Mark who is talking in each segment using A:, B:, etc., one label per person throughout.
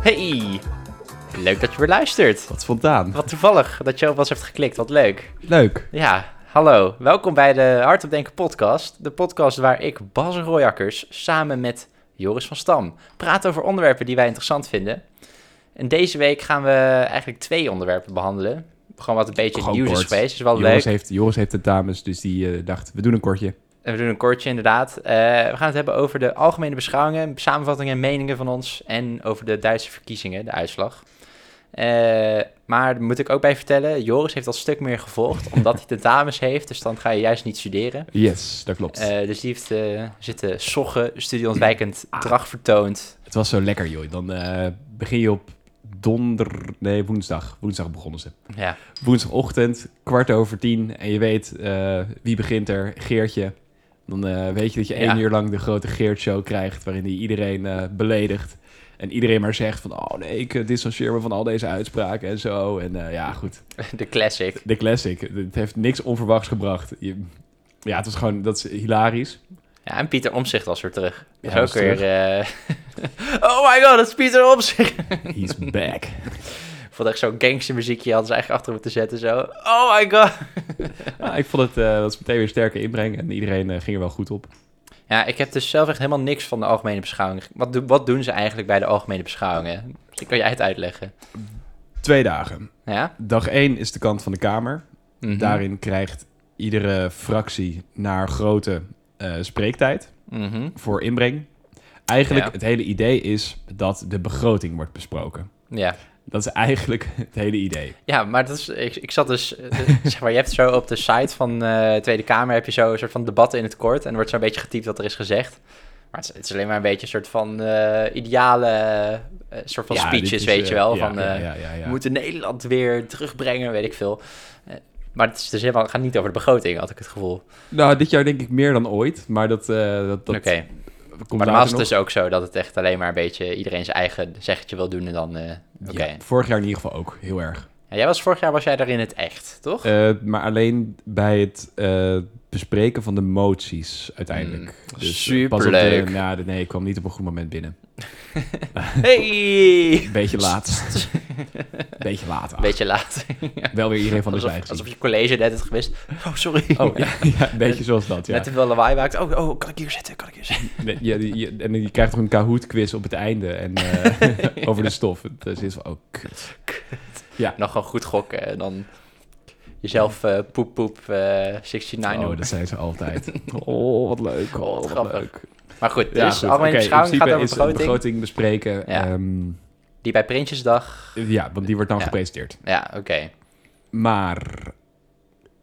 A: Hey, leuk dat je weer luistert.
B: Wat spontaan.
A: Wat toevallig dat je op ons hebt geklikt, wat leuk.
B: Leuk.
A: Ja, hallo, welkom bij de Hard op Denken podcast. De podcast waar ik, Bas Royakkers, samen met Joris van Stam praat over onderwerpen die wij interessant vinden. En deze week gaan we eigenlijk twee onderwerpen behandelen. Gewoon wat een beetje
B: Gewoon
A: user
B: kort.
A: space, is wel leuk.
B: Joris heeft, Joris heeft tentamens, dus die eh, dacht, we doen een kortje.
A: En we doen een kortje, inderdaad. Eh, we gaan het hebben over de algemene beschouwingen, samenvattingen en meningen van ons. En over de Duitse verkiezingen, de uitslag. Eh, maar daar moet ik ook bij vertellen, Joris heeft dat stuk meer gevolgd, omdat hij tentamens heeft. Dus dan ga je juist niet studeren.
B: Yes, dat klopt.
A: Eh, dus die heeft eh, zitten soggen, studieontwijkend
B: Ah.
A: drag vertoond.
B: het was zo lekker, joh. Dan eh, begin je op donder... Nee, woensdag. Woensdag begonnen ze.
A: Ja,
B: Woensdagochtend, kwart over tien. En je weet, eh, wie begint er? Geertje. Dan eh, weet je dat je
A: Ja.
B: één uur lang de grote Geert-show krijgt... waarin hij iedereen eh, beledigt. En iedereen maar zegt van... oh nee, ik eh, distancieer me van al deze uitspraken en zo. En eh, ja, goed.
A: de classic.
B: De classic. Het heeft niks onverwachts gebracht. Je- ja, het was gewoon, dat is hilarisch.
A: Ja, en Pieter Omzicht was weer terug. Dus
B: Ja,
A: ook
B: was terug.
A: weer... eh, oh my god, dat is Pieter Omzicht!
B: He's back.
A: Ik vond echt zo'n gangstermuziekje, hadden ze eigenlijk achter me te zetten. Zo, oh my god!
B: Ja, ik vond het, eh, dat is meteen weer sterke inbreng en iedereen eh, ging er wel goed op.
A: Ja, ik heb dus zelf echt helemaal niks van de algemene beschouwing. Wat, doen- wat doen ze eigenlijk bij de algemene beschouwingen? Misschien kan jij het uitleggen.
B: Twee dagen.
A: Ja?
B: Dag één is de kant van de Kamer.
A: Mhm.
B: Daarin krijgt iedere fractie naar grote eh, spreektijd
A: Mhm.
B: voor inbreng. Eigenlijk
A: Ja.
B: het hele idee is dat de begroting wordt besproken.
A: Ja.
B: Dat is eigenlijk het hele idee.
A: ja, maar dat is, ik, ik zat dus... eh, zeg maar, je hebt zo op de site van eh Tweede Kamer... heb je zo een soort van debatten in het kort... en er wordt zo'n beetje getypt wat er is gezegd. Maar het is, het is alleen maar een beetje een soort van eh, ideale... eh, soort van
B: Ja,
A: speeches,
B: dit is,
A: weet
B: eh,
A: je wel.
B: ja,
A: van,
B: ja,
A: eh,
B: ja, ja, ja.
A: We moeten Nederland weer terugbrengen, weet ik veel. Eh, maar het, is dus helemaal, het gaat niet over de begroting, had ik het gevoel.
B: Nou, dit jaar denk ik meer dan ooit. Maar dat, eh, dat, dat
A: Oké. maar
B: komt
A: normaal is
B: later
A: het
B: nog.
A: dus ook zo dat het echt alleen maar een beetje iedereen zijn eigen zeggetje wil doen en dan... eh, Oké.
B: Ja, vorig jaar in ieder geval ook, heel erg.
A: Ja, jij was vorig jaar was jij daar in het echt, toch?
B: Eh, maar alleen bij het eh, bespreken van de moties uiteindelijk.
A: Mm,
B: eh, pas op de-
A: superleuk.
B: nou, de- nee, ik kwam niet op een goed moment binnen.
A: Hey!
B: Beetje laat. Beetje laat. ach.
A: Beetje laat.
B: Wel weer iedereen van de
A: alsof,
B: zwijg.
A: alsof je college net het gemist. Oh, sorry.
B: Oh, ja, ja, een beetje zoals dat, ja.
A: Net te veel lawaai maakt. Oh, oh, kan ik hier zitten? Kan ik hier zitten?
B: Nee, je- je- en je krijgt nog een Kahoot-quiz op het einde en, eh, over de stof. Dus is van, oh, kut.
A: Nog gewoon goed gokken en dan jezelf eh, poep poep eh 69
B: Oh,
A: noemen.
B: dat zijn ze altijd. Oh, wat leuk. Oh,
A: Wat
B: wat
A: grappig.
B: leuk.
A: Maar goed,
B: Ja,
A: dus
B: goed.
A: algemene
B: Oké, in
A: beschouwing gaat
B: principe
A: over
B: is een
A: begroting.
B: begroting bespreken.
A: Ja.
B: ehm,
A: Die bij Prinsjesdag.
B: ja, want die wordt dan
A: Ja.
B: gepresenteerd.
A: Ja, oké.
B: Maar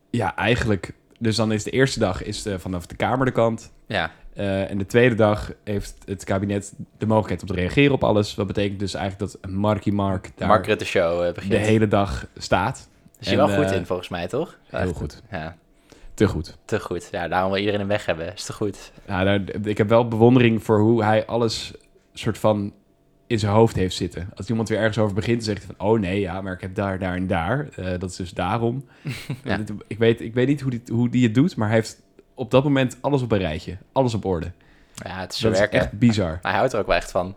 B: ja, eigenlijk. Dus dan is de eerste dag is eh, vanaf de Kamer de kant.
A: Ja.
B: Eh, en de tweede dag heeft het kabinet de mogelijkheid om te reageren op alles. Wat betekent dus eigenlijk dat Marky Mark daar
A: Mark Rutte Show eh, begint.
B: de hele dag staat.
A: Is hij
B: en,
A: wel goed
B: eh,
A: in, volgens mij, toch?
B: Heel goed.
A: Ja.
B: Te goed.
A: Te goed. Ja, daarom wil iedereen hem weg hebben. Is te goed.
B: Nou, daar- ik heb wel bewondering voor hoe hij alles soort van in zijn hoofd heeft zitten. Als iemand weer ergens over begint, dan zegt hij van... oh nee, ja, maar ik heb daar, daar en daar. Eh, dat is dus daarom.
A: Ja.
B: Dit- Ik, weet, ik weet niet hoe die, hoe die het doet, maar hij heeft op dat moment alles op een rijtje. Alles op orde.
A: Ja, het is
B: dat
A: zijn werk.
B: is
A: hè.
B: echt bizar.
A: Maar hij houdt er ook wel echt van.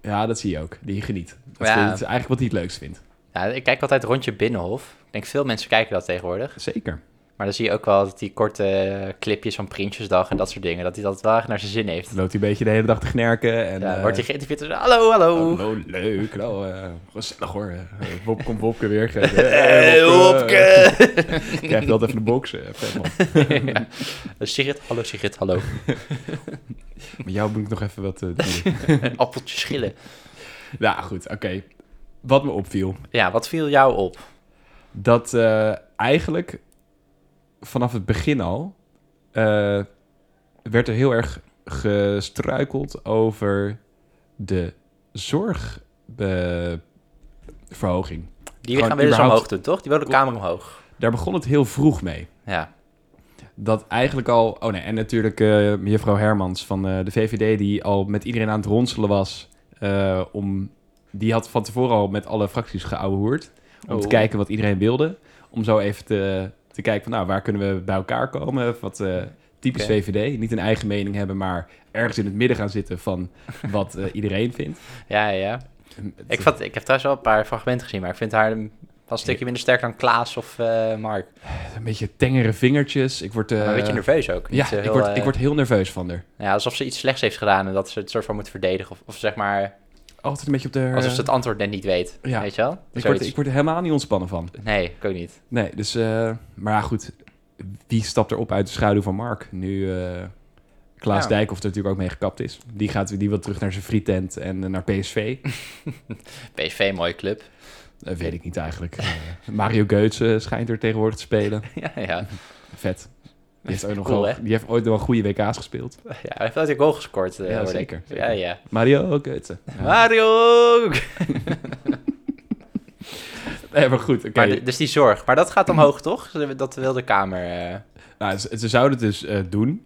B: Ja, dat zie je ook. Die geniet. Dat,
A: Ja.
B: is, dat is eigenlijk wat hij het leukst vindt.
A: Ja, ik kijk altijd rondje Binnenhof. Ik denk veel mensen kijken dat tegenwoordig.
B: Zeker.
A: Maar dan zie je ook wel dat die korte clipjes van Prinsjesdag en dat soort dingen, dat hij dat wel echt naar zijn zin heeft.
B: Dan loopt hij een beetje de hele dag te knerken. En,
A: Ja,
B: eh,
A: wordt hij geïnterviewd en zo, hallo, hallo.
B: oh, hallo, leuk. Hallo, eh, gezellig hoor. Eh, Bob, komt Bobke weer. Hey,
A: Hey, Hopke!
B: Krijg je altijd even de boxen. Vet, man.
A: ja. Dus Sigrid, hallo Sigrid, hallo.
B: Met jou moet ik nog even wat eh, doen.
A: Appeltjes schillen.
B: nou, goed. Oké. Wat me opviel.
A: Ja, wat viel jou op?
B: dat eh, eigenlijk vanaf het begin al eh, werd er heel erg gestruikeld over de zorgverhoging.
A: Die
B: Gewoon
A: gaan we dus
B: überhaupt-
A: omhoog doen, toch? Die wilde de kamer omhoog.
B: Daar begon het heel vroeg mee.
A: Ja,
B: Dat eigenlijk al. Oh nee, en natuurlijk eh mevrouw Hermans van eh, de VVD, die al met iedereen aan het ronselen was. eh, om, die had van tevoren al met alle fracties geouwehoerd. Om te
A: Oh.
B: kijken wat iedereen wilde. Om zo even te, te kijken van nou, waar kunnen we bij elkaar komen? Of Wat eh, typisch
A: Oké.
B: VVD. Niet een eigen mening hebben, maar ergens in het midden gaan zitten van wat eh, iedereen vindt.
A: ja, ja. Ik, vat, ik heb trouwens wel een paar fragmenten gezien, maar ik vind haar een- wel een stukje minder sterk dan Klaas of eh, Mark.
B: Een beetje tengere vingertjes. Ik word... eh,
A: maar een beetje nerveus ook. Niet
B: Ja,
A: zo
B: ik
A: heel,
B: word,
A: eh,
B: ik word heel nerveus van haar.
A: ja, alsof ze iets slechts heeft gedaan en dat ze het soort van moet verdedigen. Of, of zeg maar,
B: Altijd een beetje op de...
A: alsof ze het antwoord net niet weet.
B: Ja.
A: Weet je wel?
B: ik, word,
A: Zoiets.
B: ik word er helemaal niet ontspannen van.
A: Nee, ik ook niet.
B: Nee, dus... eh, maar ja, goed. Wie stapt er op uit de schaduw van Mark? Nu eh Klaas
A: Ja.
B: Dijkhoff er natuurlijk ook mee gekapt is. Die gaat weer- die wil terug naar zijn frietent en eh, naar PSV.
A: PSV, een mooie club.
B: Eh, weet ik niet eigenlijk. Eh, Mario Geutse schijnt er tegenwoordig te spelen.
A: ja, ja.
B: Vet. Die heeft, ook nog
A: Cool,
B: wel,
A: hè?
B: die heeft ooit nog wel goede WK's gespeeld.
A: ja, hij heeft wel een goal gescoord, eh,
B: Ja,
A: hoorde
B: zeker,
A: ik.
B: zeker.
A: Ja, ja.
B: Mario Geutse. Ja.
A: Mario!
B: Nee, maar goed, oké.
A: Maar de- dus die zorg. Maar dat gaat omhoog, toch? Dat wil de Kamer. eh,
B: Nou, ze, ze zouden het dus eh, doen.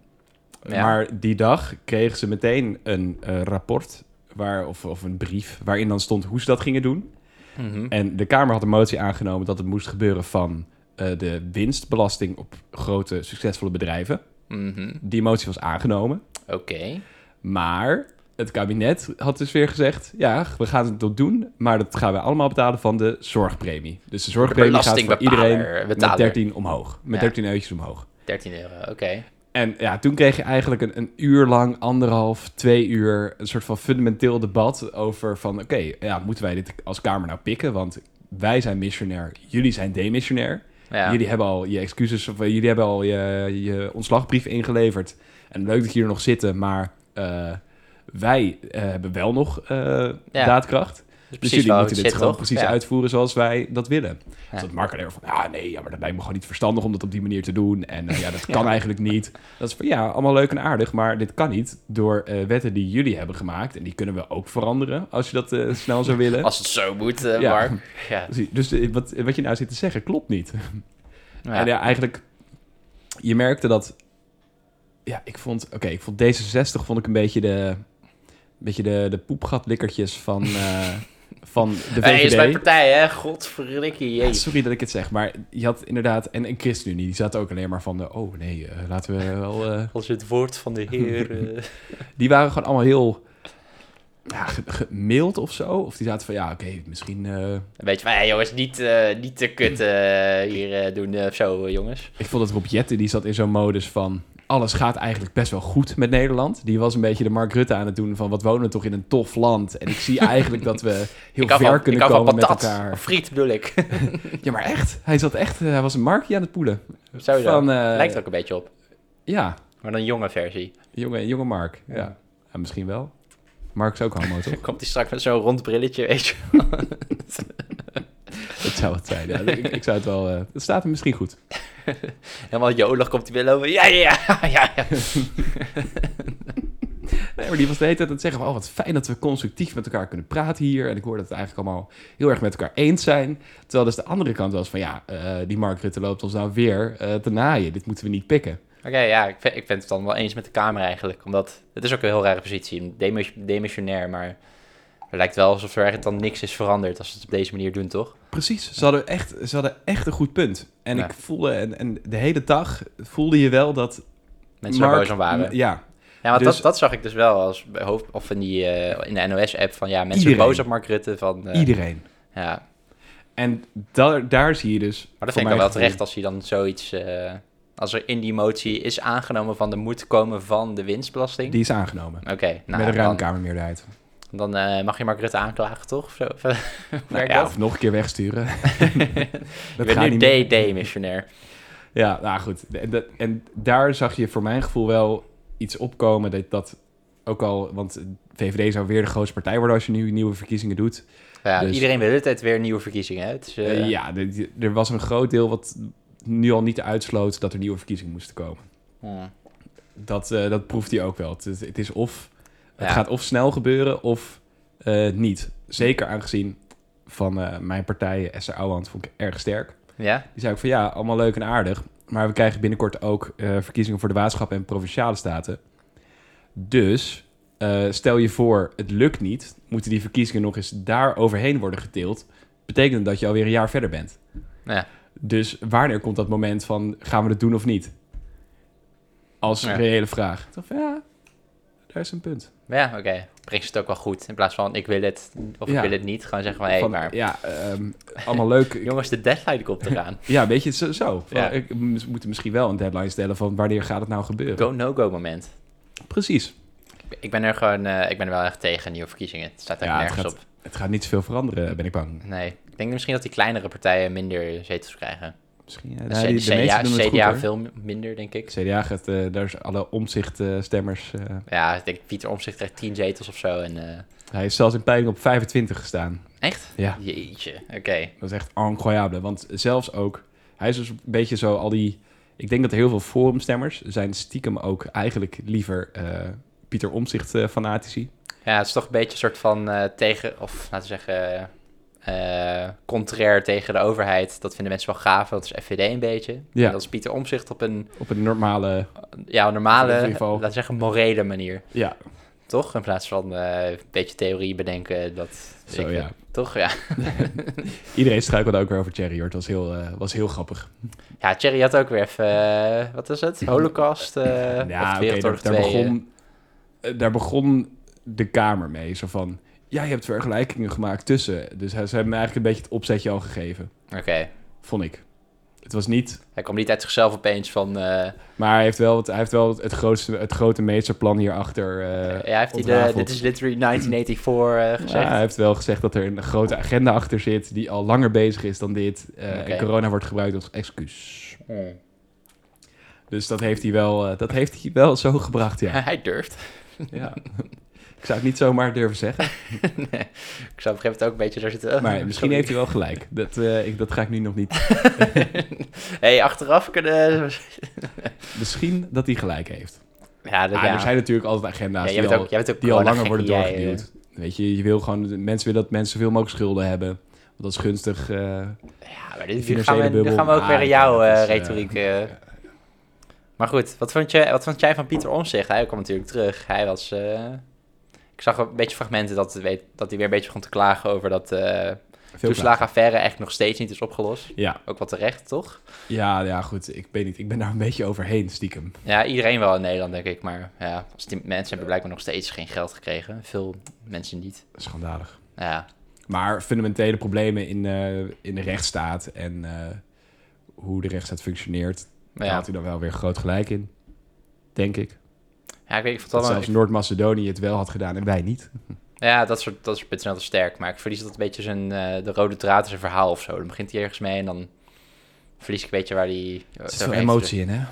A: Ja.
B: Maar die dag kregen ze meteen een eh, rapport. Waar, of, of een brief waarin dan stond hoe ze dat gingen doen.
A: mhm.
B: En de Kamer had een motie aangenomen dat het moest gebeuren van eh, de winstbelasting op grote succesvolle bedrijven.
A: Mhm.
B: Die motie was aangenomen.
A: Oké.
B: Maar het kabinet had dus weer gezegd: ja, we gaan het toch doen, maar dat gaan we allemaal betalen van de zorgpremie. Dus de zorgpremie gaat voor
A: Belastingbepaler,
B: iedereen met
A: betaler.
B: 13 omhoog. Met
A: Ja.
B: 13 eurotjes omhoog.
A: 13 euro, oké.
B: En ja, toen kreeg je eigenlijk een, een uur lang, anderhalf, twee uur, een soort van fundamenteel debat over van, oké, ja, moeten wij dit als Kamer nou pikken? Want wij zijn missionair, jullie zijn demissionair.
A: Ja.
B: Jullie hebben al je excuses of eh, jullie hebben al je, je ontslagbrief ingeleverd. En leuk dat jullie er nog zitten, maar eh, wij eh, hebben wel nog eh, daadkracht.
A: Dus
B: Dus
A: precies
B: jullie
A: waar
B: moeten
A: het
B: dit
A: zit,
B: gewoon
A: toch?
B: precies
A: Ja.
B: uitvoeren zoals wij dat willen.
A: Ja.
B: Dus dat Mark alleen maar van, ja nee, ja, maar dat lijkt me gewoon niet verstandig om dat op die manier te doen. En eh, ja, dat kan eigenlijk niet. Dat is van, ja, allemaal leuk en aardig, maar dit kan niet door eh, wetten die jullie hebben gemaakt. En die kunnen we ook veranderen als je dat eh, snel zou willen.
A: Als het zo moet, eh,
B: Ja.
A: Mark. Ja.
B: Dus- Dus eh, wat, wat je nou zit te zeggen klopt niet.
A: Ja.
B: En ja, eigenlijk, je merkte dat. Ja, ik vond. Oké, ik vond D66 vond ik een beetje de. Een beetje de, de poepgatlikkertjes van. eh, van de
A: Hey, is
B: VVD.
A: mijn partij, hè? Godverdikkie,
B: Ja,
A: jee.
B: sorry dat ik het zeg, maar je had inderdaad. En een ChristenUnie, die zat ook alleen maar van. De, oh nee, eh, laten we wel. eh,
A: Als het woord van de heer... eh,
B: die waren gewoon allemaal heel. Ja, ge- gemild of zo. Of die zaten van. Ja, oké, misschien. eh,
A: Een beetje van, hey, jongens, niet, eh, niet te kut eh, hier eh, doen eh, of zo, eh, jongens.
B: Ik vond dat Rob Jetten, die zat in zo'n modus van... alles gaat eigenlijk best wel goed met Nederland. Die was een beetje de Mark Rutte aan het doen van... wat wonen we toch in een tof land. En ik zie eigenlijk dat we heel
A: ik hou
B: ver
A: van, ik
B: kunnen
A: hou van
B: komen met
A: patat.
B: elkaar.
A: Of friet bedoel ik.
B: Ja, maar echt. Hij zat echt... eh, Hij was een Markje aan het poelen.
A: Sowieso.
B: Van, eh,
A: Lijkt er ook een beetje op.
B: Ja,
A: Maar dan een jonge versie.
B: jonge, jonge Mark. Ja.
A: Ja.
B: Ja, misschien wel. Mark is ook homo, toch?
A: Komt hij straks met zo'n rond brilletje, weet je.
B: dat zou het zijn. Ja, ik, ik zou het wel... eh, het staat hem misschien goed.
A: Helemaal jolig komt hij weer lopen. Ja, ja, ja, ja, ja.
B: Nee, maar die was de hele tijd aan het zeggen van... oh, wat fijn dat we constructief met elkaar kunnen praten hier. En ik hoor dat we het eigenlijk allemaal heel erg met elkaar eens zijn. Terwijl dus de andere kant was van... ja, eh, die Mark Rutte loopt ons nou weer eh, te naaien. Dit moeten we niet pikken.
A: Oké, ja, ik, vind- ik ben het dan wel eens met de Kamer eigenlijk. Omdat het is ook een heel rare positie. een demis- Demissionair, maar het lijkt wel alsof er eigenlijk dan niks is veranderd als ze het op deze manier doen, toch?
B: Precies, ze hadden echt, ze hadden echt een goed punt. En
A: Ja.
B: ik voelde, en, en de hele dag voelde je wel dat...
A: Mensen
B: Mark-
A: er boos om waren.
B: Ja,
A: Ja, want
B: dus-
A: dat, dat zag ik dus wel als bij hoofd, of in, die, eh, in de NOS-app van ja, mensen
B: Iedereen.
A: boos op Mark Rutte. Van, eh,
B: iedereen.
A: Ja.
B: En da daar zie je dus...
A: Maar dat
B: voor
A: vind ik dan
B: mijn
A: wel
B: gevoel-
A: terecht als hij dan zoiets, eh, als er in die motie is aangenomen van er moet komen van de winstbelasting.
B: Die is aangenomen.
A: Oké, nou,
B: met een ruime
A: dan,
B: kamermeerderheid.
A: dan eh, mag je Mark Rutte aanklagen, toch? Of zo? Of, eh, hoe
B: Nou,
A: werkt
B: ja,
A: dat?
B: of nog een keer wegsturen.
A: Je
B: dat
A: bent
B: gaat
A: nu
B: niet meer.
A: DD-missionair.
B: Ja, nou goed. En, dat- en daar zag je voor mijn gevoel wel iets opkomen dat, dat ook al... Want VVD zou weer de grootste partij worden als je nu nieuwe verkiezingen doet.
A: Ja,
B: Dus-
A: Iedereen wil de tijd weer nieuwe verkiezingen. hè? Het is, eh,
B: Eh, ja, de- die- er was een groot deel wat nu al niet uitsloot dat er nieuwe verkiezingen moesten komen.
A: hmm.
B: Dat, eh, dat proeft hij ook wel. Het, het is of... Het
A: Ja.
B: gaat of snel gebeuren of eh, niet. Zeker aangezien van eh, mijn partij, Esther Ouwehand, vond ik erg sterk.
A: Ja?
B: Die zei ook van ja, allemaal leuk en aardig. Maar we krijgen binnenkort ook eh, verkiezingen voor de waterschappen en provinciale staten. Dus eh, stel je voor, het lukt niet. Moeten die verkiezingen nog eens daar overheen worden geteeld? Betekent dat je alweer een jaar verder bent.
A: Ja.
B: Dus wanneer komt dat moment van gaan we het doen of niet? Als
A: Ja.
B: reële vraag. Toch van, ja, daar is een punt.
A: Ja, oké. brengt ze het ook wel goed. In plaats van ik wil het of
B: Ja.
A: ik wil het niet. Gewoon zeggen van, hé, hey,
B: Van,
A: maar
B: Ja, ehm, allemaal leuk. Ik-
A: jongens, de deadline komt eraan.
B: Ja, weet je, zo. zo. Van,
A: Ja.
B: Ik, we moeten misschien wel een deadline stellen van wanneer gaat het nou gebeuren.
A: Go, no-go moment.
B: Precies.
A: Ik ben er gewoon, eh, ik ben er wel echt tegen nieuwe verkiezingen. Het staat daar
B: Ja, het
A: nergens
B: gaat-
A: op.
B: Het gaat niet zoveel veranderen, ben ik bang.
A: Nee, ik denk misschien dat die kleinere partijen minder zetels krijgen. Dus
B: Misschien, ja,
A: De
B: die- de
A: CDA,
B: meesten doen het goed,
A: CDA
B: hoor.
A: veel minder, denk ik.
B: CDA gaat, eh, daar is alle omzichtstemmers. eh
A: Ja, ik denk Pieter Omtzigt krijgt 10 zetels of zo. En, eh,
B: hij heeft zelfs in peiling op 25 gestaan.
A: echt?
B: Ja.
A: Jeetje, oké.
B: Dat is echt incroyable. Want zelfs ook, hij is dus een beetje zo al die... Ik denk dat heel veel forumstemmers zijn stiekem ook eigenlijk liever eh, Pieter Omzicht fanatici.
A: Ja, het is toch een beetje een soort van eh, tegen, of laten we zeggen, eh, contrair tegen de overheid. Dat vinden mensen wel gaaf, dat is FVD een beetje.
B: Ja.
A: En dat is Pieter Omzicht op een
B: Op een normale...
A: ja, een normale,
B: In ieder geval.
A: laten we zeggen, morele manier.
B: Ja,
A: Toch? In plaats van eh, een beetje theorie bedenken. Dat, weet
B: zo
A: ik
B: ja.
A: veel. Toch? Ja.
B: Iedereen struikelde ook weer over Thierry, hoor. Het was heel, eh, was heel grappig.
A: ja, Thierry had ook weer even, eh, wat is het? Holocaust? eh of
B: oké,
A: Wereldoorlog
B: daar, daar
A: 2, eh.
B: begon, eh, daar begon de Kamer mee. Zo van, jij hebt vergelijkingen gemaakt tussen. Dus hij, ze hebben me eigenlijk een beetje het opzetje al gegeven.
A: eh. Oké.
B: Vond ik. Het was niet...
A: Hij kwam niet uit zichzelf opeens van... eh,
B: Maar hij heeft wel, het- hij heeft wel het, grootste, het grote meesterplan hierachter eh
A: ja, heeft hij de,
B: ontrafeld.
A: dit is literally 1984 eh, gezegd.
B: Ja, hij heeft wel gezegd dat er een grote agenda achter zit die al langer bezig is dan dit. eh,
A: Oké.
B: En corona wordt gebruikt als excuus.
A: Hmm.
B: Dus dat heeft hij wel, eh, dat heeft hij wel zo gebracht, ja.
A: hij durft.
B: ja. Ik zou het niet zomaar durven zeggen,
A: Nee, Ik zou op een gegeven moment ook een beetje daar zitten. eh,
B: maar dus- misschien heeft hij wel gelijk. Dat, eh, ik, dat ga ik nu nog niet.
A: hey, achteraf kunnen...
B: Misschien dat hij gelijk heeft.
A: Ja, dat,
B: Ah,
A: ja.
B: Er zijn natuurlijk altijd agenda's
A: Ja, jij,
B: die
A: bent
B: al,
A: ook, jij bent ook
B: die al langer
A: coronagek,
B: worden
A: jij, eh.
B: doorgeduwd. Weet je, je wil gewoon, mensen willen dat mensen zoveel mogelijk schulden hebben. Want dat is gunstig. eh,
A: Ja, maar dit, nu,
B: financiële
A: gaan we, nu
B: bubbel.
A: gaan we ook
B: Ah,
A: weer in
B: ja,
A: jouw
B: dat
A: eh,
B: is, eh,
A: retoriek. eh. Maar goed, wat vond, je, wat vond jij van Pieter Omtzigt? Hij kwam natuurlijk terug. Hij was... eh, Ik zag een beetje fragmenten dat, weet- dat hij weer een beetje begon te klagen over dat eh
B: veel
A: toeslagenaffaire eigenlijk nog steeds niet is opgelost.
B: Ja,
A: Ook wat terecht, toch?
B: Ja, ja, goed. Ik weet niet. Ik ben daar een beetje overheen, stiekem.
A: Ja, iedereen wel in Nederland, denk ik. Maar ja, als die mensen hebben blijkbaar nog steeds geen geld gekregen. Veel mensen niet.
B: Schandalig.
A: Ja,
B: Maar fundamentele problemen in, eh, in de rechtsstaat en eh, hoe de rechtsstaat functioneert,
A: maar
B: daar
A: ja.
B: had hij dan wel weer groot gelijk in. Denk ik.
A: ja ik, weet, ik vond
B: Dat
A: het wel...
B: zelfs Noord-Macedonië het wel had gedaan en wij niet.
A: Ja, dat soort, dat soort punten zijn altijd sterk. Maar ik verlies dat een beetje zijn, eh, de rode draad is een verhaal of zo. Dan begint hij ergens mee en dan verlies ik een beetje waar hij...
B: Eh, Er zit wel emotie in, hè?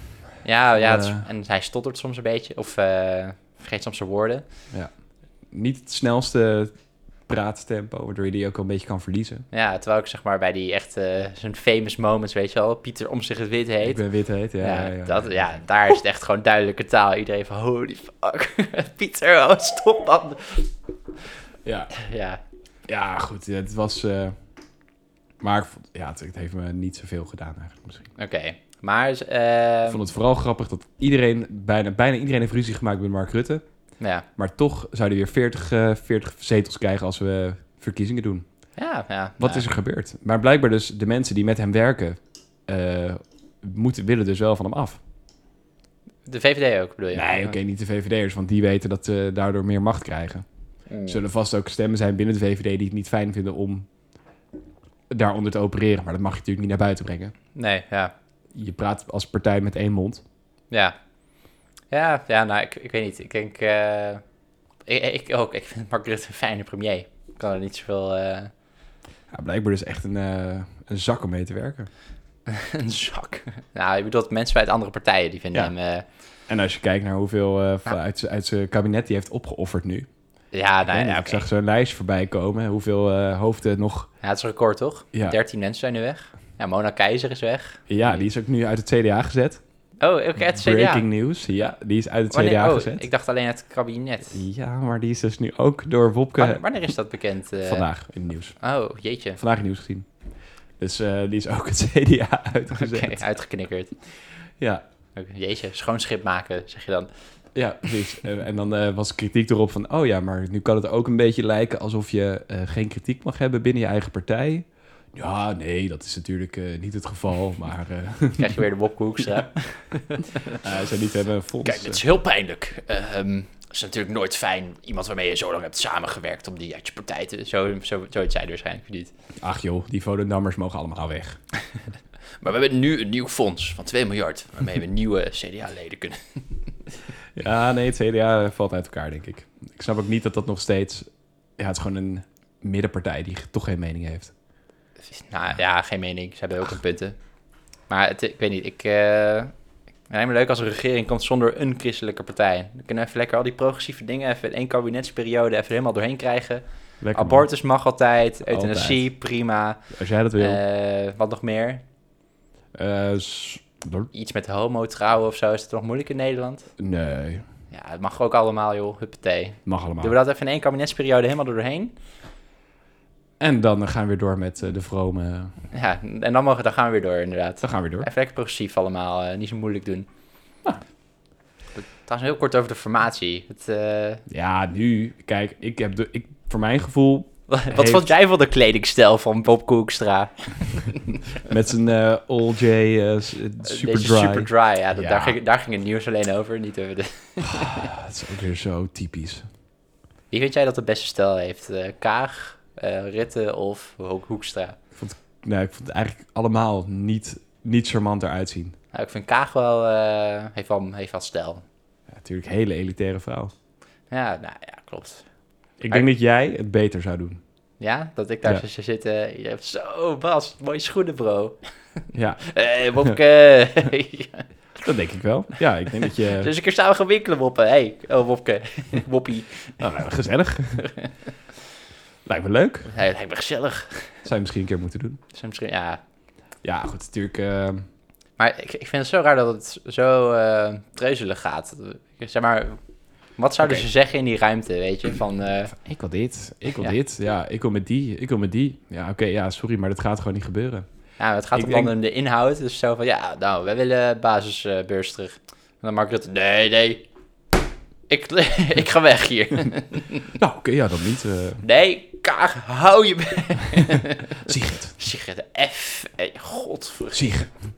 A: Ja, ja het is-
B: Eh.
A: en hij stottert soms een beetje. Of eh, vergeet soms zijn woorden.
B: Niet het snelste praattempo, waardoor je die ook wel een beetje kan verliezen.
A: Ja, terwijl ik zeg maar bij die echt eh, zijn famous moments, weet je wel. Pieter om zich het wit
B: Ik
A: heet.
B: ben wit heet, ja.
A: Ja,
B: ja, ja.
A: Dat, ja, daar is het echt gewoon duidelijke taal. Iedereen van, holy fuck, Pieter, oh, stop man.
B: Ja.
A: Ja,
B: Ja, goed. Het was... eh, Maar ik vond- ja, het, het heeft me niet zoveel gedaan eigenlijk misschien.
A: oké. Maar, eh,
B: Ik vond het vooral grappig dat iedereen, bijna, bijna iedereen heeft ruzie gemaakt met Mark Rutte.
A: ja,
B: Maar toch zou hij weer 40, eh, 40 zetels krijgen als we verkiezingen doen.
A: ja, ja.
B: Wat
A: ja.
B: is er gebeurd? Maar blijkbaar dus de mensen die met hem werken, eh, moeten, willen dus wel van hem af.
A: De VVD ook, bedoel je?
B: nee, oké, niet de VVD'ers, want die weten dat ze daardoor meer macht krijgen.
A: Mm.
B: Er zullen vast ook stemmen zijn binnen de VVD die het niet fijn vinden om daaronder te opereren. Maar dat mag je natuurlijk niet naar buiten brengen.
A: Nee, ja.
B: Je praat als partij met één mond.
A: Ja. Ja, ja nou, ik, ik weet niet. Ik denk... eh, ik, ik ook. Ik vind Mark Rutte een fijne premier. Ik kan er niet zoveel... eh,
B: Ja, blijkbaar dus echt een, eh, een zak om mee te werken.
A: een zak. Nou, ik bedoel, dat mensen uit andere partijen, die vinden
B: Ja.
A: hem... eh,
B: En als je kijkt naar hoeveel eh, van- uit, z'n- uit zijn kabinet die heeft opgeofferd nu.
A: ja, nou,
B: Ik weet niet,
A: ja,
B: Ik
A: oké.
B: zag zo'n lijstje voorbij komen. Hoeveel eh, hoofden nog...
A: ja, het is een record, toch?
B: Ja.
A: 13 mensen zijn nu weg. Ja, Mona Keizer is weg.
B: Ja, die is ook nu uit het CDA gezet.
A: Oh, oké, het CDA.
B: Breaking news. Ja, die is uit het
A: Oh, nee,
B: CDA
A: oh,
B: gezet.
A: ik dacht alleen het kabinet.
B: Ja, maar die is dus nu ook door Wopke...
A: Wanneer, wanneer is dat bekend? eh?
B: Vandaag in het nieuws.
A: Oh, jeetje.
B: Vandaag in het nieuws gezien. Dus eh, die is ook het CDA
A: Oké,
B: uitgezet.
A: uitgeknikkerd.
B: Ja,
A: Oké, Jeetje, schoon schip maken, zeg je dan.
B: ja, precies. Eh, en dan eh, was kritiek erop van... Oh ja, maar nu kan het ook een beetje lijken alsof je eh, geen kritiek mag hebben binnen je eigen partij. Ja, nee, dat is natuurlijk eh, niet het geval. Maar eh
A: Dan krijg je weer de Bob Hoekstra.
B: eh, zij niet hebben een fonds.
C: Kijk, het
B: eh.
C: is heel pijnlijk. Eh, ehm, het is natuurlijk nooit fijn iemand waarmee je zo lang hebt samengewerkt om die uit je partij te.
A: zo, zo, zoiets zei hij waarschijnlijk niet.
B: Ach joh, die Volendammers mogen allemaal weg.
C: Maar we hebben nu een nieuw fonds van 2 miljard waarmee we nieuwe CDA-leden kunnen.
B: Ja, nee, het CDA valt uit elkaar, denk ik. Ik snap ook niet dat dat nog steeds... Ja, het is gewoon een middenpartij die toch geen mening heeft.
A: Nou ja, geen mening. Ze hebben ook hun punten. Maar het, ik weet niet, ik... eh het lijkt me leuk als een regering komt zonder een christelijke partij. Dan kunnen we even lekker al die progressieve dingen even in één kabinetsperiode even helemaal doorheen krijgen.
B: Lekker, man.
A: Abortus mag altijd, euthanasie, prima.
B: Als jij dat wil.
A: Eh, wat nog meer?
B: Eh, s- door-
A: Iets met homo trouwen of zo, is het nog moeilijk in Nederland?
B: nee,
A: Ja, het mag ook allemaal joh, huppatee.
B: mag allemaal.
A: Doen we dat even in één kabinetsperiode helemaal er doorheen?
B: En dan eh, gaan we weer door met eh, de vrome...
A: Ja, en dan, mogen, dan gaan we weer door inderdaad.
B: Dan gaan we weer door.
A: Even lekker progressief allemaal, eh, niet zo moeilijk doen. Trouwens, heel kort over de formatie. Het, eh,
B: Ja, nu... Kijk, ik heb de, ik, voor mijn gevoel
A: wat
B: Heeft-
A: vond jij van de kledingstijl van Bob Koekstra?
B: Met zijn eh All J eh, s- eh, super
A: Deze
B: dry.
A: super dry, ja, dat-
B: Ja.
A: Daar, ging, daar ging het nieuws alleen over. Niet over de...
B: Ah, dat is ook weer zo typisch.
A: Wie vind jij dat de beste stijl heeft? Eh, Kaag, eh Ritten of Ho- Hoekstra?
B: Nee, ik vond het eigenlijk allemaal niet, niet charmant eruit zien.
A: Nou, ik vind Kaag wel, eh, heeft wel, heeft wel stijl.
B: Ja, natuurlijk, hele elitaire vrouw.
A: Ja, nou ja, klopt.
B: Ik
A: Maar-
B: denk dat jij het beter zou doen.
A: Ja, dat ik daar
B: Ja.
A: zo zou zitten. Je hebt zo, Bas, mooie schoenen, bro.
B: Ja,
A: Hé, hey, Wopke.
B: dat denk ik wel. Ja, ik denk dat je...
A: Dus een keer samen gaan winkelen, Woppe. Hé, hey, oh, Wopke. Woppie.
B: Nou, lijkt me gezellig. lijkt me leuk.
A: Hij lijkt me gezellig.
B: Zou je misschien een keer moeten doen.
A: Dus misschien, ja.
B: Ja, goed, natuurlijk... eh,
A: Maar ik, ik vind het zo raar dat het zo eh treuzelig gaat. Zeg maar, wat zouden
B: Oké.
A: ze zeggen in die ruimte, weet je? Van, eh,
B: ik wil dit, ik wil
A: Ja.
B: dit. Ja, ik wil met die, ik wil met die. Ja, oké, ja, sorry, maar dat gaat gewoon niet gebeuren.
A: nou, het gaat
B: Ik
A: om
B: denk-
A: dan om de inhoud. Dus zo van, ja, nou, wij willen basisbeurs terug. En dan maak ik dat, nee, nee. Ik, ik ga weg hier.
B: Nou, oké, ja, dan niet. eh
A: Nee, kaag, hou je... be-
B: Sigrid,
A: Sigrid, F. eh, Godver.
B: Sigrid. Oh,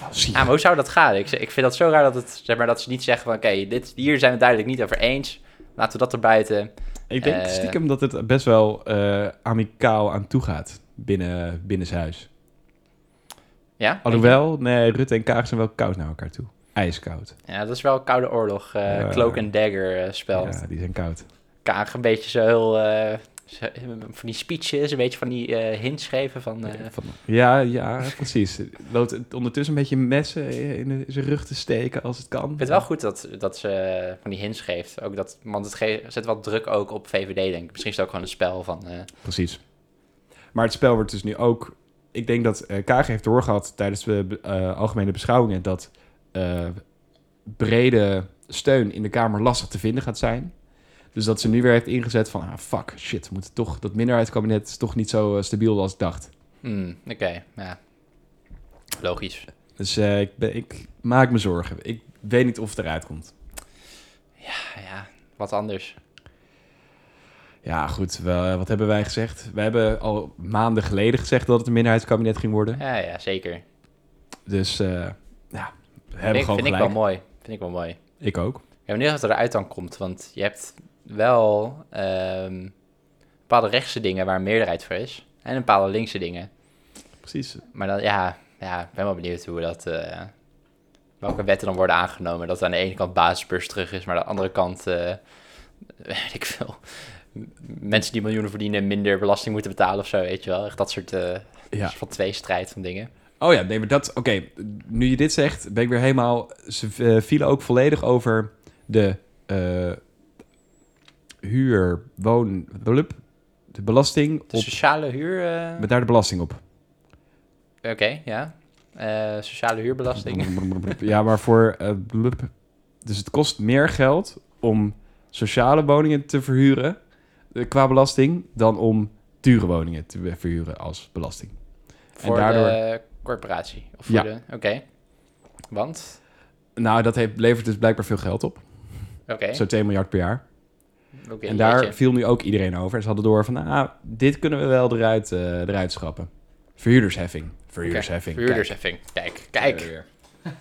A: Ja,
B: Sigrid.
A: maar hoe zou dat gaan? Ik, ik vind dat zo raar dat, het, zeg maar, dat ze niet zeggen van... oké, dit hier zijn we duidelijk niet over eens. Laten we dat erbuiten.
B: Ik denk
A: Eh,
B: stiekem dat het best wel eh, amicaal aan toe gaat binnen, binnen zijn huis.
A: Ja?
B: Alhoewel, nee, Rutte en Kaag zijn wel koud naar elkaar toe. IJskoud.
A: Ja, dat is wel koude oorlog. eh,
B: Ja.
A: Cloak and dagger eh, spel.
B: Ja, die zijn koud.
A: Kaag een beetje zo heel... eh, zo- van die speeches, een beetje van die eh, hints geven van... eh,
B: Van- ja, ja, precies. Loopt het ondertussen een beetje messen in zijn rug te steken als het kan.
A: ik vind het wel goed dat, dat ze eh, van die hints geeft. Ook dat, want het ge- zet wel druk ook op VVD, denk ik. Misschien is het ook gewoon een spel van... eh,
B: Precies. Maar het spel wordt dus nu ook... Ik denk dat eh, Kaag heeft doorgehad tijdens de eh, algemene beschouwingen... dat eh, brede steun in de Kamer lastig te vinden gaat zijn. Dus dat ze nu weer heeft ingezet van... Ah, fuck, shit, we moeten toch, dat minderheidskabinet is toch niet zo eh, stabiel als ik dacht.
A: hmm, oké, ja. Logisch.
B: Dus eh, ik, ben- ik maak me zorgen. Ik weet niet of het eruit komt.
A: Ja, Ah, ja, wat anders.
B: Ja, goed, wel, wat hebben wij gezegd? We hebben al maanden geleden gezegd dat het een minderheidskabinet ging worden.
A: Ja, ja, zeker.
B: Dus eh, ja, we
A: Vind,
B: hebben gewoon
A: vind ik
B: gelijk.
A: wel mooi. Vind ik wel mooi.
B: ik ook.
A: Ik ben benieuwd wat eruit dan komt, want je hebt wel ehm, bepaalde rechtse dingen waar een meerderheid voor is. En een bepaalde linkse dingen.
B: Precies.
A: Maar dan, ja, ja, ik ben wel benieuwd hoe dat... eh, welke wetten dan worden aangenomen. Dat aan de ene kant basisbeurs terug is, maar aan de andere kant... eh, weet ik veel. m- Mensen die miljoenen verdienen minder belasting moeten betalen of zo, weet je wel. Echt dat soort eh
B: Ja.
A: van twee strijd van dingen.
B: Oh ja, nee, maar dat... Oké, nu je dit zegt, ben ik weer helemaal... Ze eh, vielen ook volledig over de eh, huur, woon... blub, De belasting
A: De
B: op...
A: sociale huur... eh,
B: Met daar de belasting op.
A: Oké, ja. Eh, sociale huurbelasting.
B: Ja, maar voor... eh, blub. dus het kost meer geld om sociale woningen te verhuren eh, qua belasting... dan om dure woningen te verhuren als belasting.
A: Voor
B: daardoor-
A: de corporatie. Of voor
B: Ja.
A: de. Oké. Want.
B: Nou, dat heeft, levert dus blijkbaar veel geld op.
A: Oké.
B: Zo'n 2 miljard per jaar.
A: Oké,
B: en daar
A: jeetje.
B: viel nu ook iedereen over. Ze hadden door van, ah, dit kunnen we wel eruit, eh, eruit schrappen. Verhuurdersheffing. Verhuurdersheffing.
A: Verhuurdersheffing. Kijk, kijk.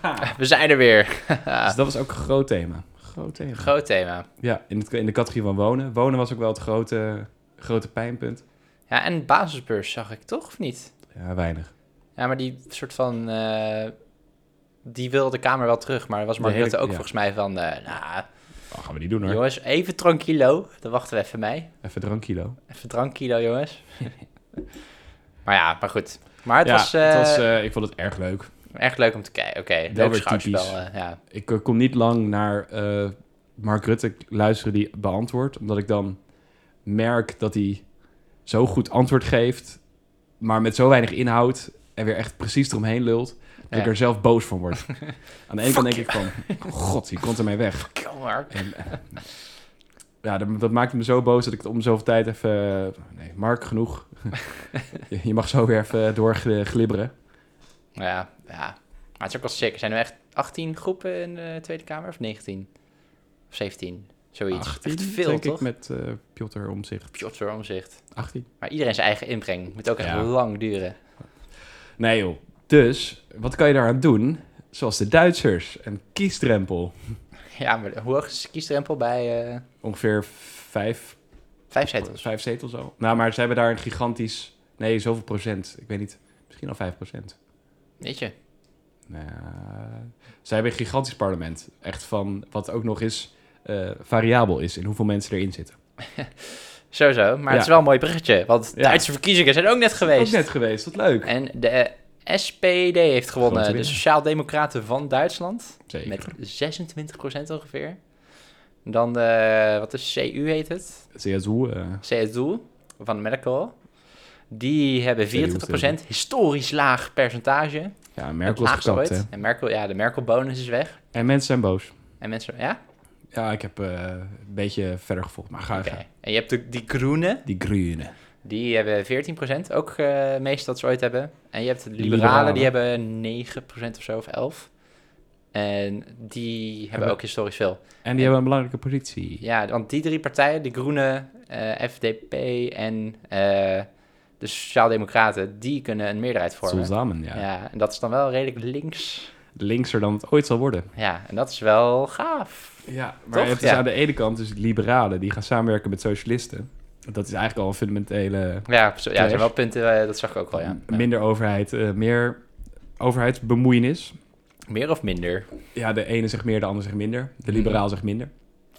A: Ah.
B: Kijk.
A: We zijn er weer.
B: Dus dat was ook een groot thema. Groot thema.
A: Groot thema.
B: Ja, in, het, in de categorie van wonen. Wonen was ook wel het grote, grote pijnpunt.
A: Ja, en basisbeurs zag ik toch, of niet?
B: Ja, weinig.
A: Ja, maar die soort van... eh, die wil de Kamer wel terug, maar daar was
B: De
A: Mark
B: hele-
A: Rutte ook
B: ja.
A: volgens mij van... eh, nou,
B: Oh, gaan we die doen hoor.
A: jongens, even tranquilo. Dan wachten we even mee.
B: Even tranquilo.
A: Even tranquilo, jongens. maar ja, maar goed. Maar het
B: ja,
A: was, eh,
B: het was, eh, ik vond het erg leuk.
A: echt leuk om te kijken. Oké,
B: Wel
A: leuk
B: weer
A: schouwspel.
B: typisch.
A: eh, ja.
B: Ik eh, kon niet lang naar eh, Mark Rutte luisteren die beantwoordt. Omdat ik dan merk dat hij zo goed antwoord geeft, maar met zo weinig inhoud en weer echt precies eromheen lult, dat
A: Ja.
B: ik er zelf boos van word. Aan de ene kant
A: Fuck
B: denk ik van, god, die komt ermee weg.
A: Kill Mark.
B: En, eh, ja, dat, dat maakt me zo boos dat ik het om zoveel tijd even... eh, nee, Mark, genoeg. je, je mag zo weer even doorglibberen.
A: Ja, ja. Maar het is ook wel sick. Zijn er echt 18 groepen in de Tweede Kamer? Of 19? Of 17? Zoiets.
B: 18,
A: echt veel,
B: denk
A: toch?
B: ik, met eh Piotr Omzicht.
A: Piotr Omzicht.
B: 18.
A: Maar iedereen zijn eigen inbreng. Moet ook echt
B: Ja.
A: lang duren.
B: Nee joh. Dus, wat kan je daaraan doen? Zoals de Duitsers, een kiesdrempel.
A: Ja, maar hoe hoog is de kiesdrempel bij eh
B: Ongeveer vijf,
A: vijf zetels?
B: vijf zetels zo. Nou, maar ze hebben daar een gigantisch... Nee, zoveel procent. Ik weet niet. Misschien al vijf procent.
A: Weet je?
B: Nou, ze hebben een gigantisch parlement. Echt van wat ook nog eens eh, variabel is in hoeveel mensen erin zitten.
A: Sowieso. Maar
B: Ja.
A: het is wel een mooi bruggetje. Want de
B: Ja.
A: Duitse verkiezingen zijn ook net
B: Ook
A: geweest.
B: net geweest, wat leuk.
A: En de eh, SPD heeft
B: Grote
A: gewonnen. De
B: winnaar.
A: Sociaaldemocraten van Duitsland.
B: Zeker.
A: Met 26% ongeveer. Dan de, wat is CU heet het?
B: CSU, eh,
A: CSU van Merkel. Die hebben 24% historisch laag percentage.
B: ja,
A: Het
B: Merkel is
A: laagste
B: gekapt, hè.
A: ooit. En Merkel, ja, de Merkel-bonus is weg.
B: En mensen zijn boos.
A: En mensen, ja?
B: Ja, ik heb eh, een beetje verder gevolgd, maar ga
A: Oké.
B: ga.
A: En je hebt de, die Groenen,
B: Die groene.
A: die hebben 14%, ook eh meest dat ze ooit hebben. En je hebt de liberalen,
B: liberalen.
A: die hebben 9% of zo, of 11. En die hebben,
B: Hebben-
A: ook historisch veel.
B: En die hebben een belangrijke positie.
A: Ja, want die drie partijen, de Groenen, eh, FDP en eh, de Sociaaldemocraten, die kunnen een meerderheid vormen.
B: Samen, ja.
A: Ja. en dat is dan wel redelijk links.
B: Linkser dan het ooit zal worden.
A: Ja, en dat is wel gaaf.
B: Ja, maar
A: Toch?
B: het is
A: Ja.
B: aan de ene kant dus liberalen die gaan samenwerken met socialisten. Dat is eigenlijk al een fundamentele
A: Ja, zo- ja er
B: Clash.
A: zijn wel punten, eh, dat zag ik ook wel, ja. Ja.
B: minder overheid, eh, meer overheidsbemoeienis.
A: Meer of minder?
B: Ja, de ene zegt meer, de ander zegt minder. De
A: Mm.
B: liberaal zegt minder.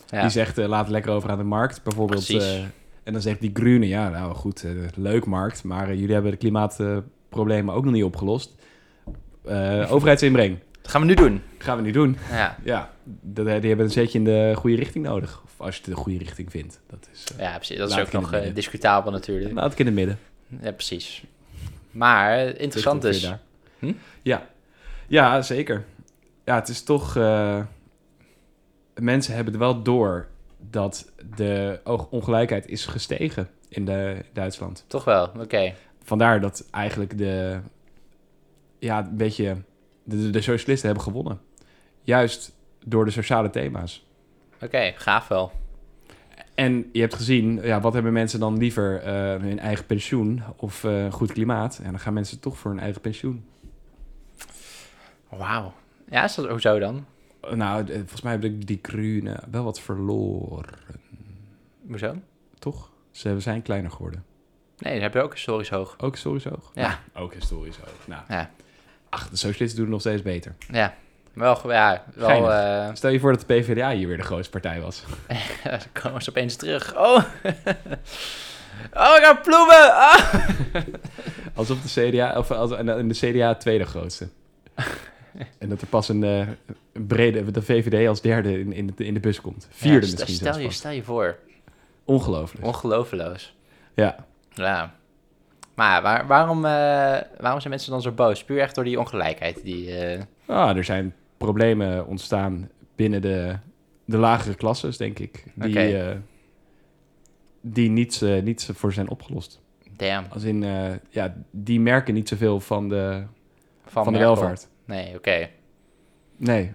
A: Ja.
B: Die zegt, eh, laat het lekker over aan de markt, bijvoorbeeld.
A: Precies.
B: eh, en dan zegt die groene, ja, nou goed, eh, leuk markt, maar eh, jullie hebben de klimaatproblemen ook nog niet opgelost. Eh, overheidsinbreng,
A: Dat gaan we nu doen.
B: gaan we niet doen.
A: Ja,
B: Ja, dat- eh, die hebben een zetje in de goede richting nodig. Of als je het de goede richting vindt. Dat is eh,
A: ja precies. Dat is
B: Laat
A: ook
B: ik in
A: nog
B: het
A: eh,
B: midden.
A: discutabel natuurlijk.
B: laat ik in het midden.
A: Ja, precies. Maar eh, interessant
B: Ligt
A: dus.
B: ongeveer daar.
A: Hm?
B: Ja. ja, zeker. Ja, het is toch... eh, mensen hebben er wel door dat de oog- ongelijkheid is gestegen in de Duitsland.
A: Toch wel, oké.
B: Vandaar dat eigenlijk de... Ja, een beetje... De, de- de socialisten hebben gewonnen. Juist door de sociale thema's.
A: Oké, gaaf wel.
B: En je hebt gezien, ja, wat hebben mensen dan liever? eh, hun eigen pensioen of eh, goed klimaat? En dan gaan mensen toch voor hun eigen pensioen.
A: Wauw. Ja, is dat hoezo dan?
B: Eh, Nou, eh, volgens mij hebben die Groenen wel wat verloren,
A: Hoezo?
B: toch? Ze zijn kleiner geworden.
A: Nee, dat heb je ook historisch hoog.
B: Ook historisch hoog?
A: Ja.
B: Ook historisch hoog. Nou,
A: Ja.
B: ach, de socialisten doen het nog steeds beter.
A: Ja. Wel, ja, wel...
B: Geinig.
A: eh
B: Stel je voor dat de PvdA hier weer de grootste partij was.
A: dan komen ze opeens terug. Oh! oh, ik heb bloemen! Ah!
B: Alsof de CDA, of als, en en de CDA het tweede grootste. en dat er pas een, eh, een brede, de VVD als derde in, in, de, in de bus komt. Vierde
A: Ja, st-
B: misschien
A: stel,
B: zelfs
A: je,
B: pas.
A: stel je voor.
B: Ongelooflijk.
A: Ongeloofloos.
B: Ja.
A: Ja. Maar waar- waarom, eh, waarom zijn mensen dan zo boos? Puur echt door die ongelijkheid. Die, eh,
B: Ah, er zijn problemen ontstaan binnen de, de lagere klasses, denk ik. Die,
A: Oké.
B: eh, die niet, eh, niet voor zijn opgelost.
A: damn.
B: Als in, eh, ja, die merken niet zoveel van de, van de
A: Merkel.
B: welvaart.
A: Nee, oké.
B: Nee.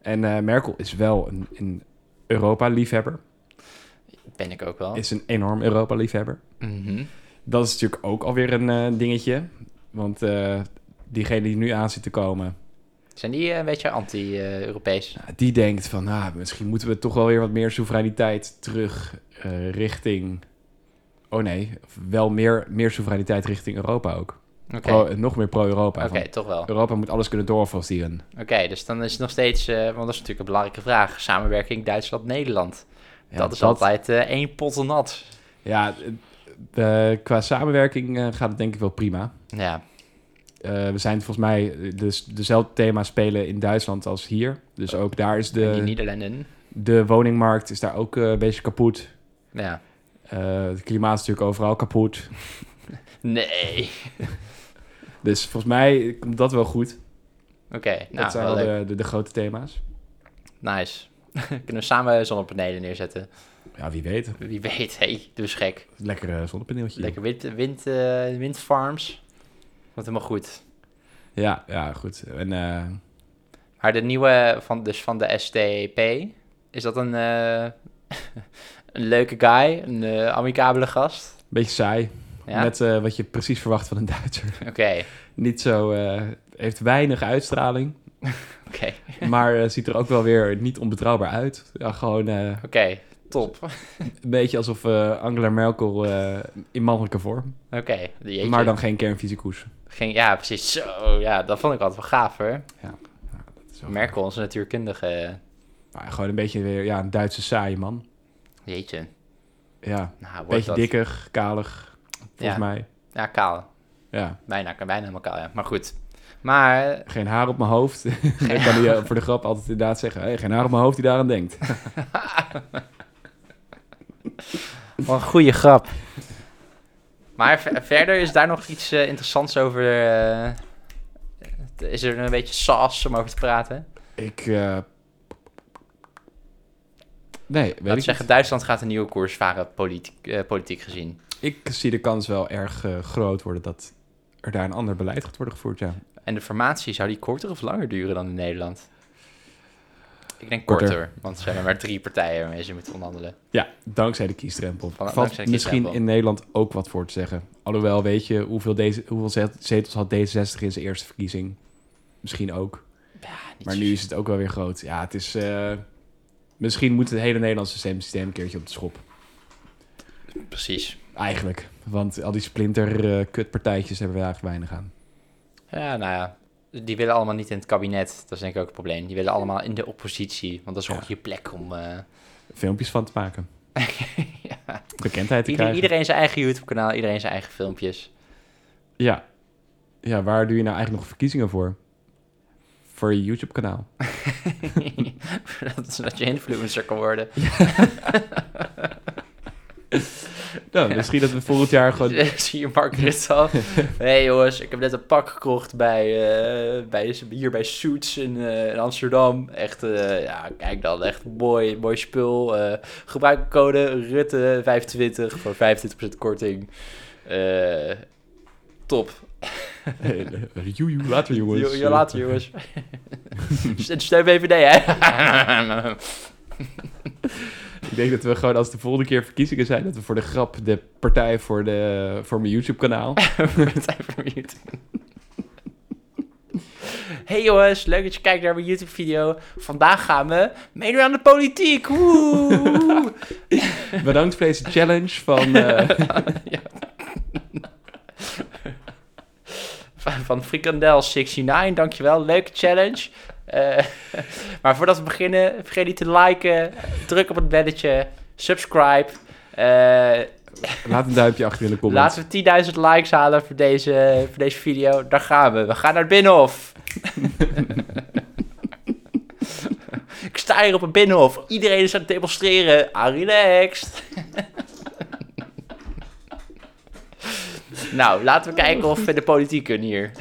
B: En eh, Merkel is wel een, een Europa-liefhebber.
A: Ben ik ook wel.
B: Is een enorm Europa-liefhebber.
A: Mhm.
B: Dat is natuurlijk ook alweer een eh, dingetje. Want eh, diegene die nu aan zit te komen,
A: Zijn die eh, een beetje anti-Europees?
B: nou, die denkt van, nou, misschien moeten we toch wel weer wat meer soevereiniteit terug eh, richting... Oh nee, wel meer, meer soevereiniteit richting Europa ook.
A: Oké,
B: Pro- nog meer pro-Europa.
A: Oké,
B: van,
A: toch wel. Oké,
B: Europa moet alles kunnen doorforceren.
A: dus dan is het nog steeds, eh, want dat is natuurlijk een belangrijke vraag, samenwerking Duitsland-Nederland.
B: Ja,
A: dat is altijd eh, één pot nat.
B: Ja, eh, eh, qua samenwerking eh, gaat het denk ik wel prima.
A: Ja,
B: Eh, we zijn volgens mij dus dezelfde thema's spelen in Duitsland als hier. Dus ook daar is
A: en die
B: de,
A: Nederlanden.
B: de woningmarkt is daar ook eh, een beetje kapot.
A: Ja.
B: Eh, het klimaat is natuurlijk overal kapot.
A: Nee.
B: Dus volgens mij komt dat wel goed.
A: Oké, nou,
B: dat zijn
A: wel
B: wel
A: leuk.
B: de, de, de grote thema's.
A: Nice. Kunnen we samen zonnepanelen neerzetten?
B: Ja, wie weet.
A: Wie weet, hé, hey, doe eens gek.
B: Lekker eh, zonnepaneeltje.
A: Lekker wind, wind, eh, windfarms. Wat helemaal goed.
B: Ja, ja, goed. En eh,
A: Maar de nieuwe van, dus van de STP, is dat een, eh, een leuke guy, een eh, amicabele gast?
B: een beetje saai.
A: Ja,
B: Net eh, wat je precies verwacht van een Duitser.
A: oké,
B: Niet zo... eh, heeft weinig uitstraling.
A: oké,
B: Maar eh, ziet er ook wel weer niet onbetrouwbaar uit. Ja, gewoon eh,
A: oké, top. Oké,
B: een beetje alsof eh, Angela Merkel eh, in mannelijke vorm.
A: jeetje.
B: Maar dan geen kernfysicus.
A: Ging, ja, precies. Zo, ja, dat vond ik altijd wel gaaf hoor.
B: Dat is wel-
A: Merkel, onze natuurkundige.
B: Maar gewoon een beetje weer ja, een Duitse saaie man.
A: Jeetje,
B: Ja,
A: nou, wordt
B: een beetje
A: dat.
B: dikker, kalig,
A: Ja.
B: volgens mij.
A: Ja, kaal.
B: Ja,
A: Bijna, ik ben bijna helemaal kaal, ja. Maar goed. Maar,
B: geen haar op mijn hoofd. dan kan hij eh, voor de grap altijd inderdaad zeggen... Hey, geen haar op mijn hoofd die daaraan denkt.
A: wat een goede grap. Maar ver- verder is daar nog iets eh, interessants over... eh, is er een beetje saas om over te praten?
B: Ik... eh, Nee, weet
A: Laat
B: ik
A: zeggen, Duitsland gaat een nieuwe koers varen, politiek, eh, politiek gezien.
B: niet. Ik zie de kans wel erg eh, groot worden dat er daar een ander beleid gaat worden gevoerd, ja.
A: En de formatie, zou die korter of langer duren dan in Nederland? Ik denk
B: Korter.
A: korter, want er zijn er maar drie partijen waarmee ze moeten onderhandelen.
B: Ja, dankzij de kiesdrempel.
A: Van-
B: Valt
A: dankzij de
B: misschien
A: kiesdrempel.
B: in Nederland ook wat voor te zeggen. Alhoewel, weet je, hoeveel, deze, hoeveel zet- zetels had D66 in zijn eerste verkiezing? Misschien ook.
A: Ja, Ah, niet
B: Maar
A: zo-
B: nu is het ook wel weer groot. Ja, het is... eh, misschien moet het hele Nederlandse stemsysteem een keertje op de schop.
A: Precies.
B: Eigenlijk. Want al die splinter-kutpartijtjes hebben we eigenlijk weinig aan.
A: Ja, nou ja. Die willen allemaal niet in het kabinet. Dat is denk ik ook een probleem. Die willen allemaal in de oppositie. Want dat is
B: Ja.
A: ook je plek om... eh,
B: Filmpjes van te maken.
A: ja.
B: Bekendheid te
A: Ieder-
B: krijgen.
A: iedereen zijn eigen YouTube-kanaal, iedereen zijn eigen filmpjes.
B: Ja. ja, waar doe je nou eigenlijk nog verkiezingen voor? Voor je YouTube-kanaal.
A: dat, is dat je influencer kan worden.
B: Nou, misschien dat we volgend jaar gewoon
A: Zie je Mark Rutte al? hey jongens, ik heb net een pak gekocht bij, eh, bij, hier bij Suits in, eh, in Amsterdam. Echt, eh, ja, kijk dan, echt mooi, mooi spul. Eh, gebruik code RUTTE25 voor 25% korting. Eh, top.
B: Joejoe, later jongens.
A: Jo- jo, later jongens. Steun VVD hè?
B: Ik denk dat we gewoon als de volgende keer verkiezingen zijn, dat we voor de grap de partij voor, de, voor mijn YouTube-kanaal.
A: Partij voor YouTube. Hey jongens, leuk dat je kijkt naar mijn YouTube-video. Vandaag gaan we meedoen aan de politiek. Woe!
B: Bedankt voor deze challenge van... eh,
A: van, van Frikandel69, dankjewel. Leuke challenge. Eh, maar voordat we beginnen, vergeet niet te liken. Druk op het belletje. Subscribe. Eh,
B: laat een duimpje achter in de comments.
A: laten we 10.000 likes halen voor deze, voor deze video. Daar gaan we. We gaan naar het Binnenhof. Ik sta hier op het Binnenhof. Iedereen is aan het demonstreren. Ah, relaxed. nou, laten we kijken of we de politiek kunnen hier.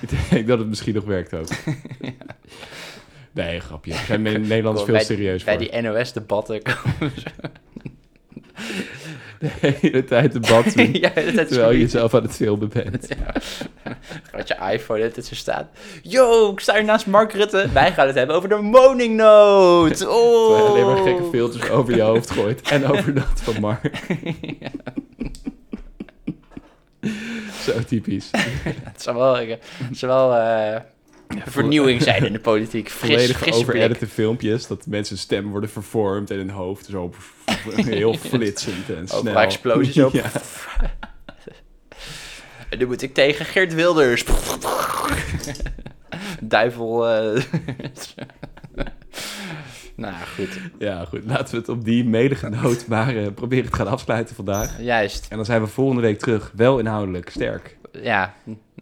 B: Ik denk dat het misschien nog werkt ook. Nee, grapje. We zijn in Nederland
A: Gewoon
B: veel
A: bij-
B: serieus
A: Bij
B: voor.
A: die NOS-debatten.
B: De hele tijd debat doen,
A: ja, dat is
B: terwijl je zelf aan het filmen bent.
A: Wat je iPhone het zo staat. Yo, ik sta hier naast Mark Rutte. Wij gaan het hebben over de woningnood.
B: Terwijl
A: Oh.
B: je alleen maar gekke filters over je hoofd gooit. En over dat van Mark. Zo typisch.
A: Het zou wel, eh, het zou wel eh, vernieuwing zijn in de politiek. Fris,
B: Volledig
A: frisse blik.
B: overedited filmpjes. Dat mensen stemmen worden vervormd en hun hoofd zo heel flitsend en
A: Ook
B: snel.
A: maar explosies op.
B: Ja.
A: En nu moet ik tegen Geert Wilders. Duivel. eh. nou goed,
B: Ja, goed. Laten we het op die medegenoot maar eh, proberen te gaan afsluiten vandaag.
A: juist.
B: En dan zijn we volgende week terug. Wel inhoudelijk, sterk.
A: Ja,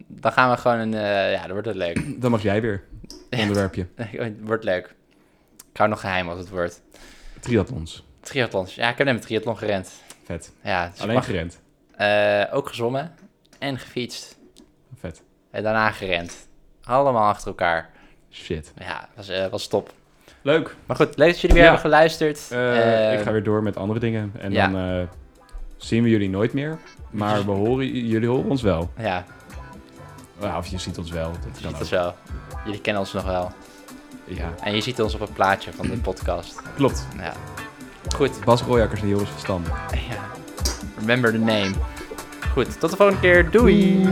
A: dan gaan we gewoon een... eh, ja, dat wordt het leuk.
B: Dan mag jij weer. Onderwerpje.
A: Het wordt leuk. Ik hou nog geheim wat het wordt.
B: Triathlons.
A: Triathlons. Ja, ik heb net met triathlon gerend.
B: Vet.
A: Ja, dus ik
B: Alleen
A: mag-
B: gerend.
A: eh, ook gezwommen en gefietst.
B: Vet.
A: En daarna gerend. Allemaal achter elkaar.
B: Shit.
A: Ja, was, eh, was top.
B: Leuk.
A: Maar goed, leuk dat jullie weer
B: Ja.
A: hebben geluisterd.
B: Eh,
A: Eh,
B: ik ga weer door met andere dingen. En
A: ja.
B: dan eh, zien we jullie nooit meer. Maar we horen, jullie horen ons wel.
A: Ja,
B: Ja, of je ziet ons wel. Dat kan
A: dat
B: ook.
A: is wel. Jullie kennen ons nog wel.
B: Ja,
A: En je ziet ons op het plaatje van de podcast.
B: klopt.
A: Ja. Goed.
B: Bas Royakkers en Joris Verstanden.
A: Ja. Remember the name. Goed, tot de volgende keer. Doei.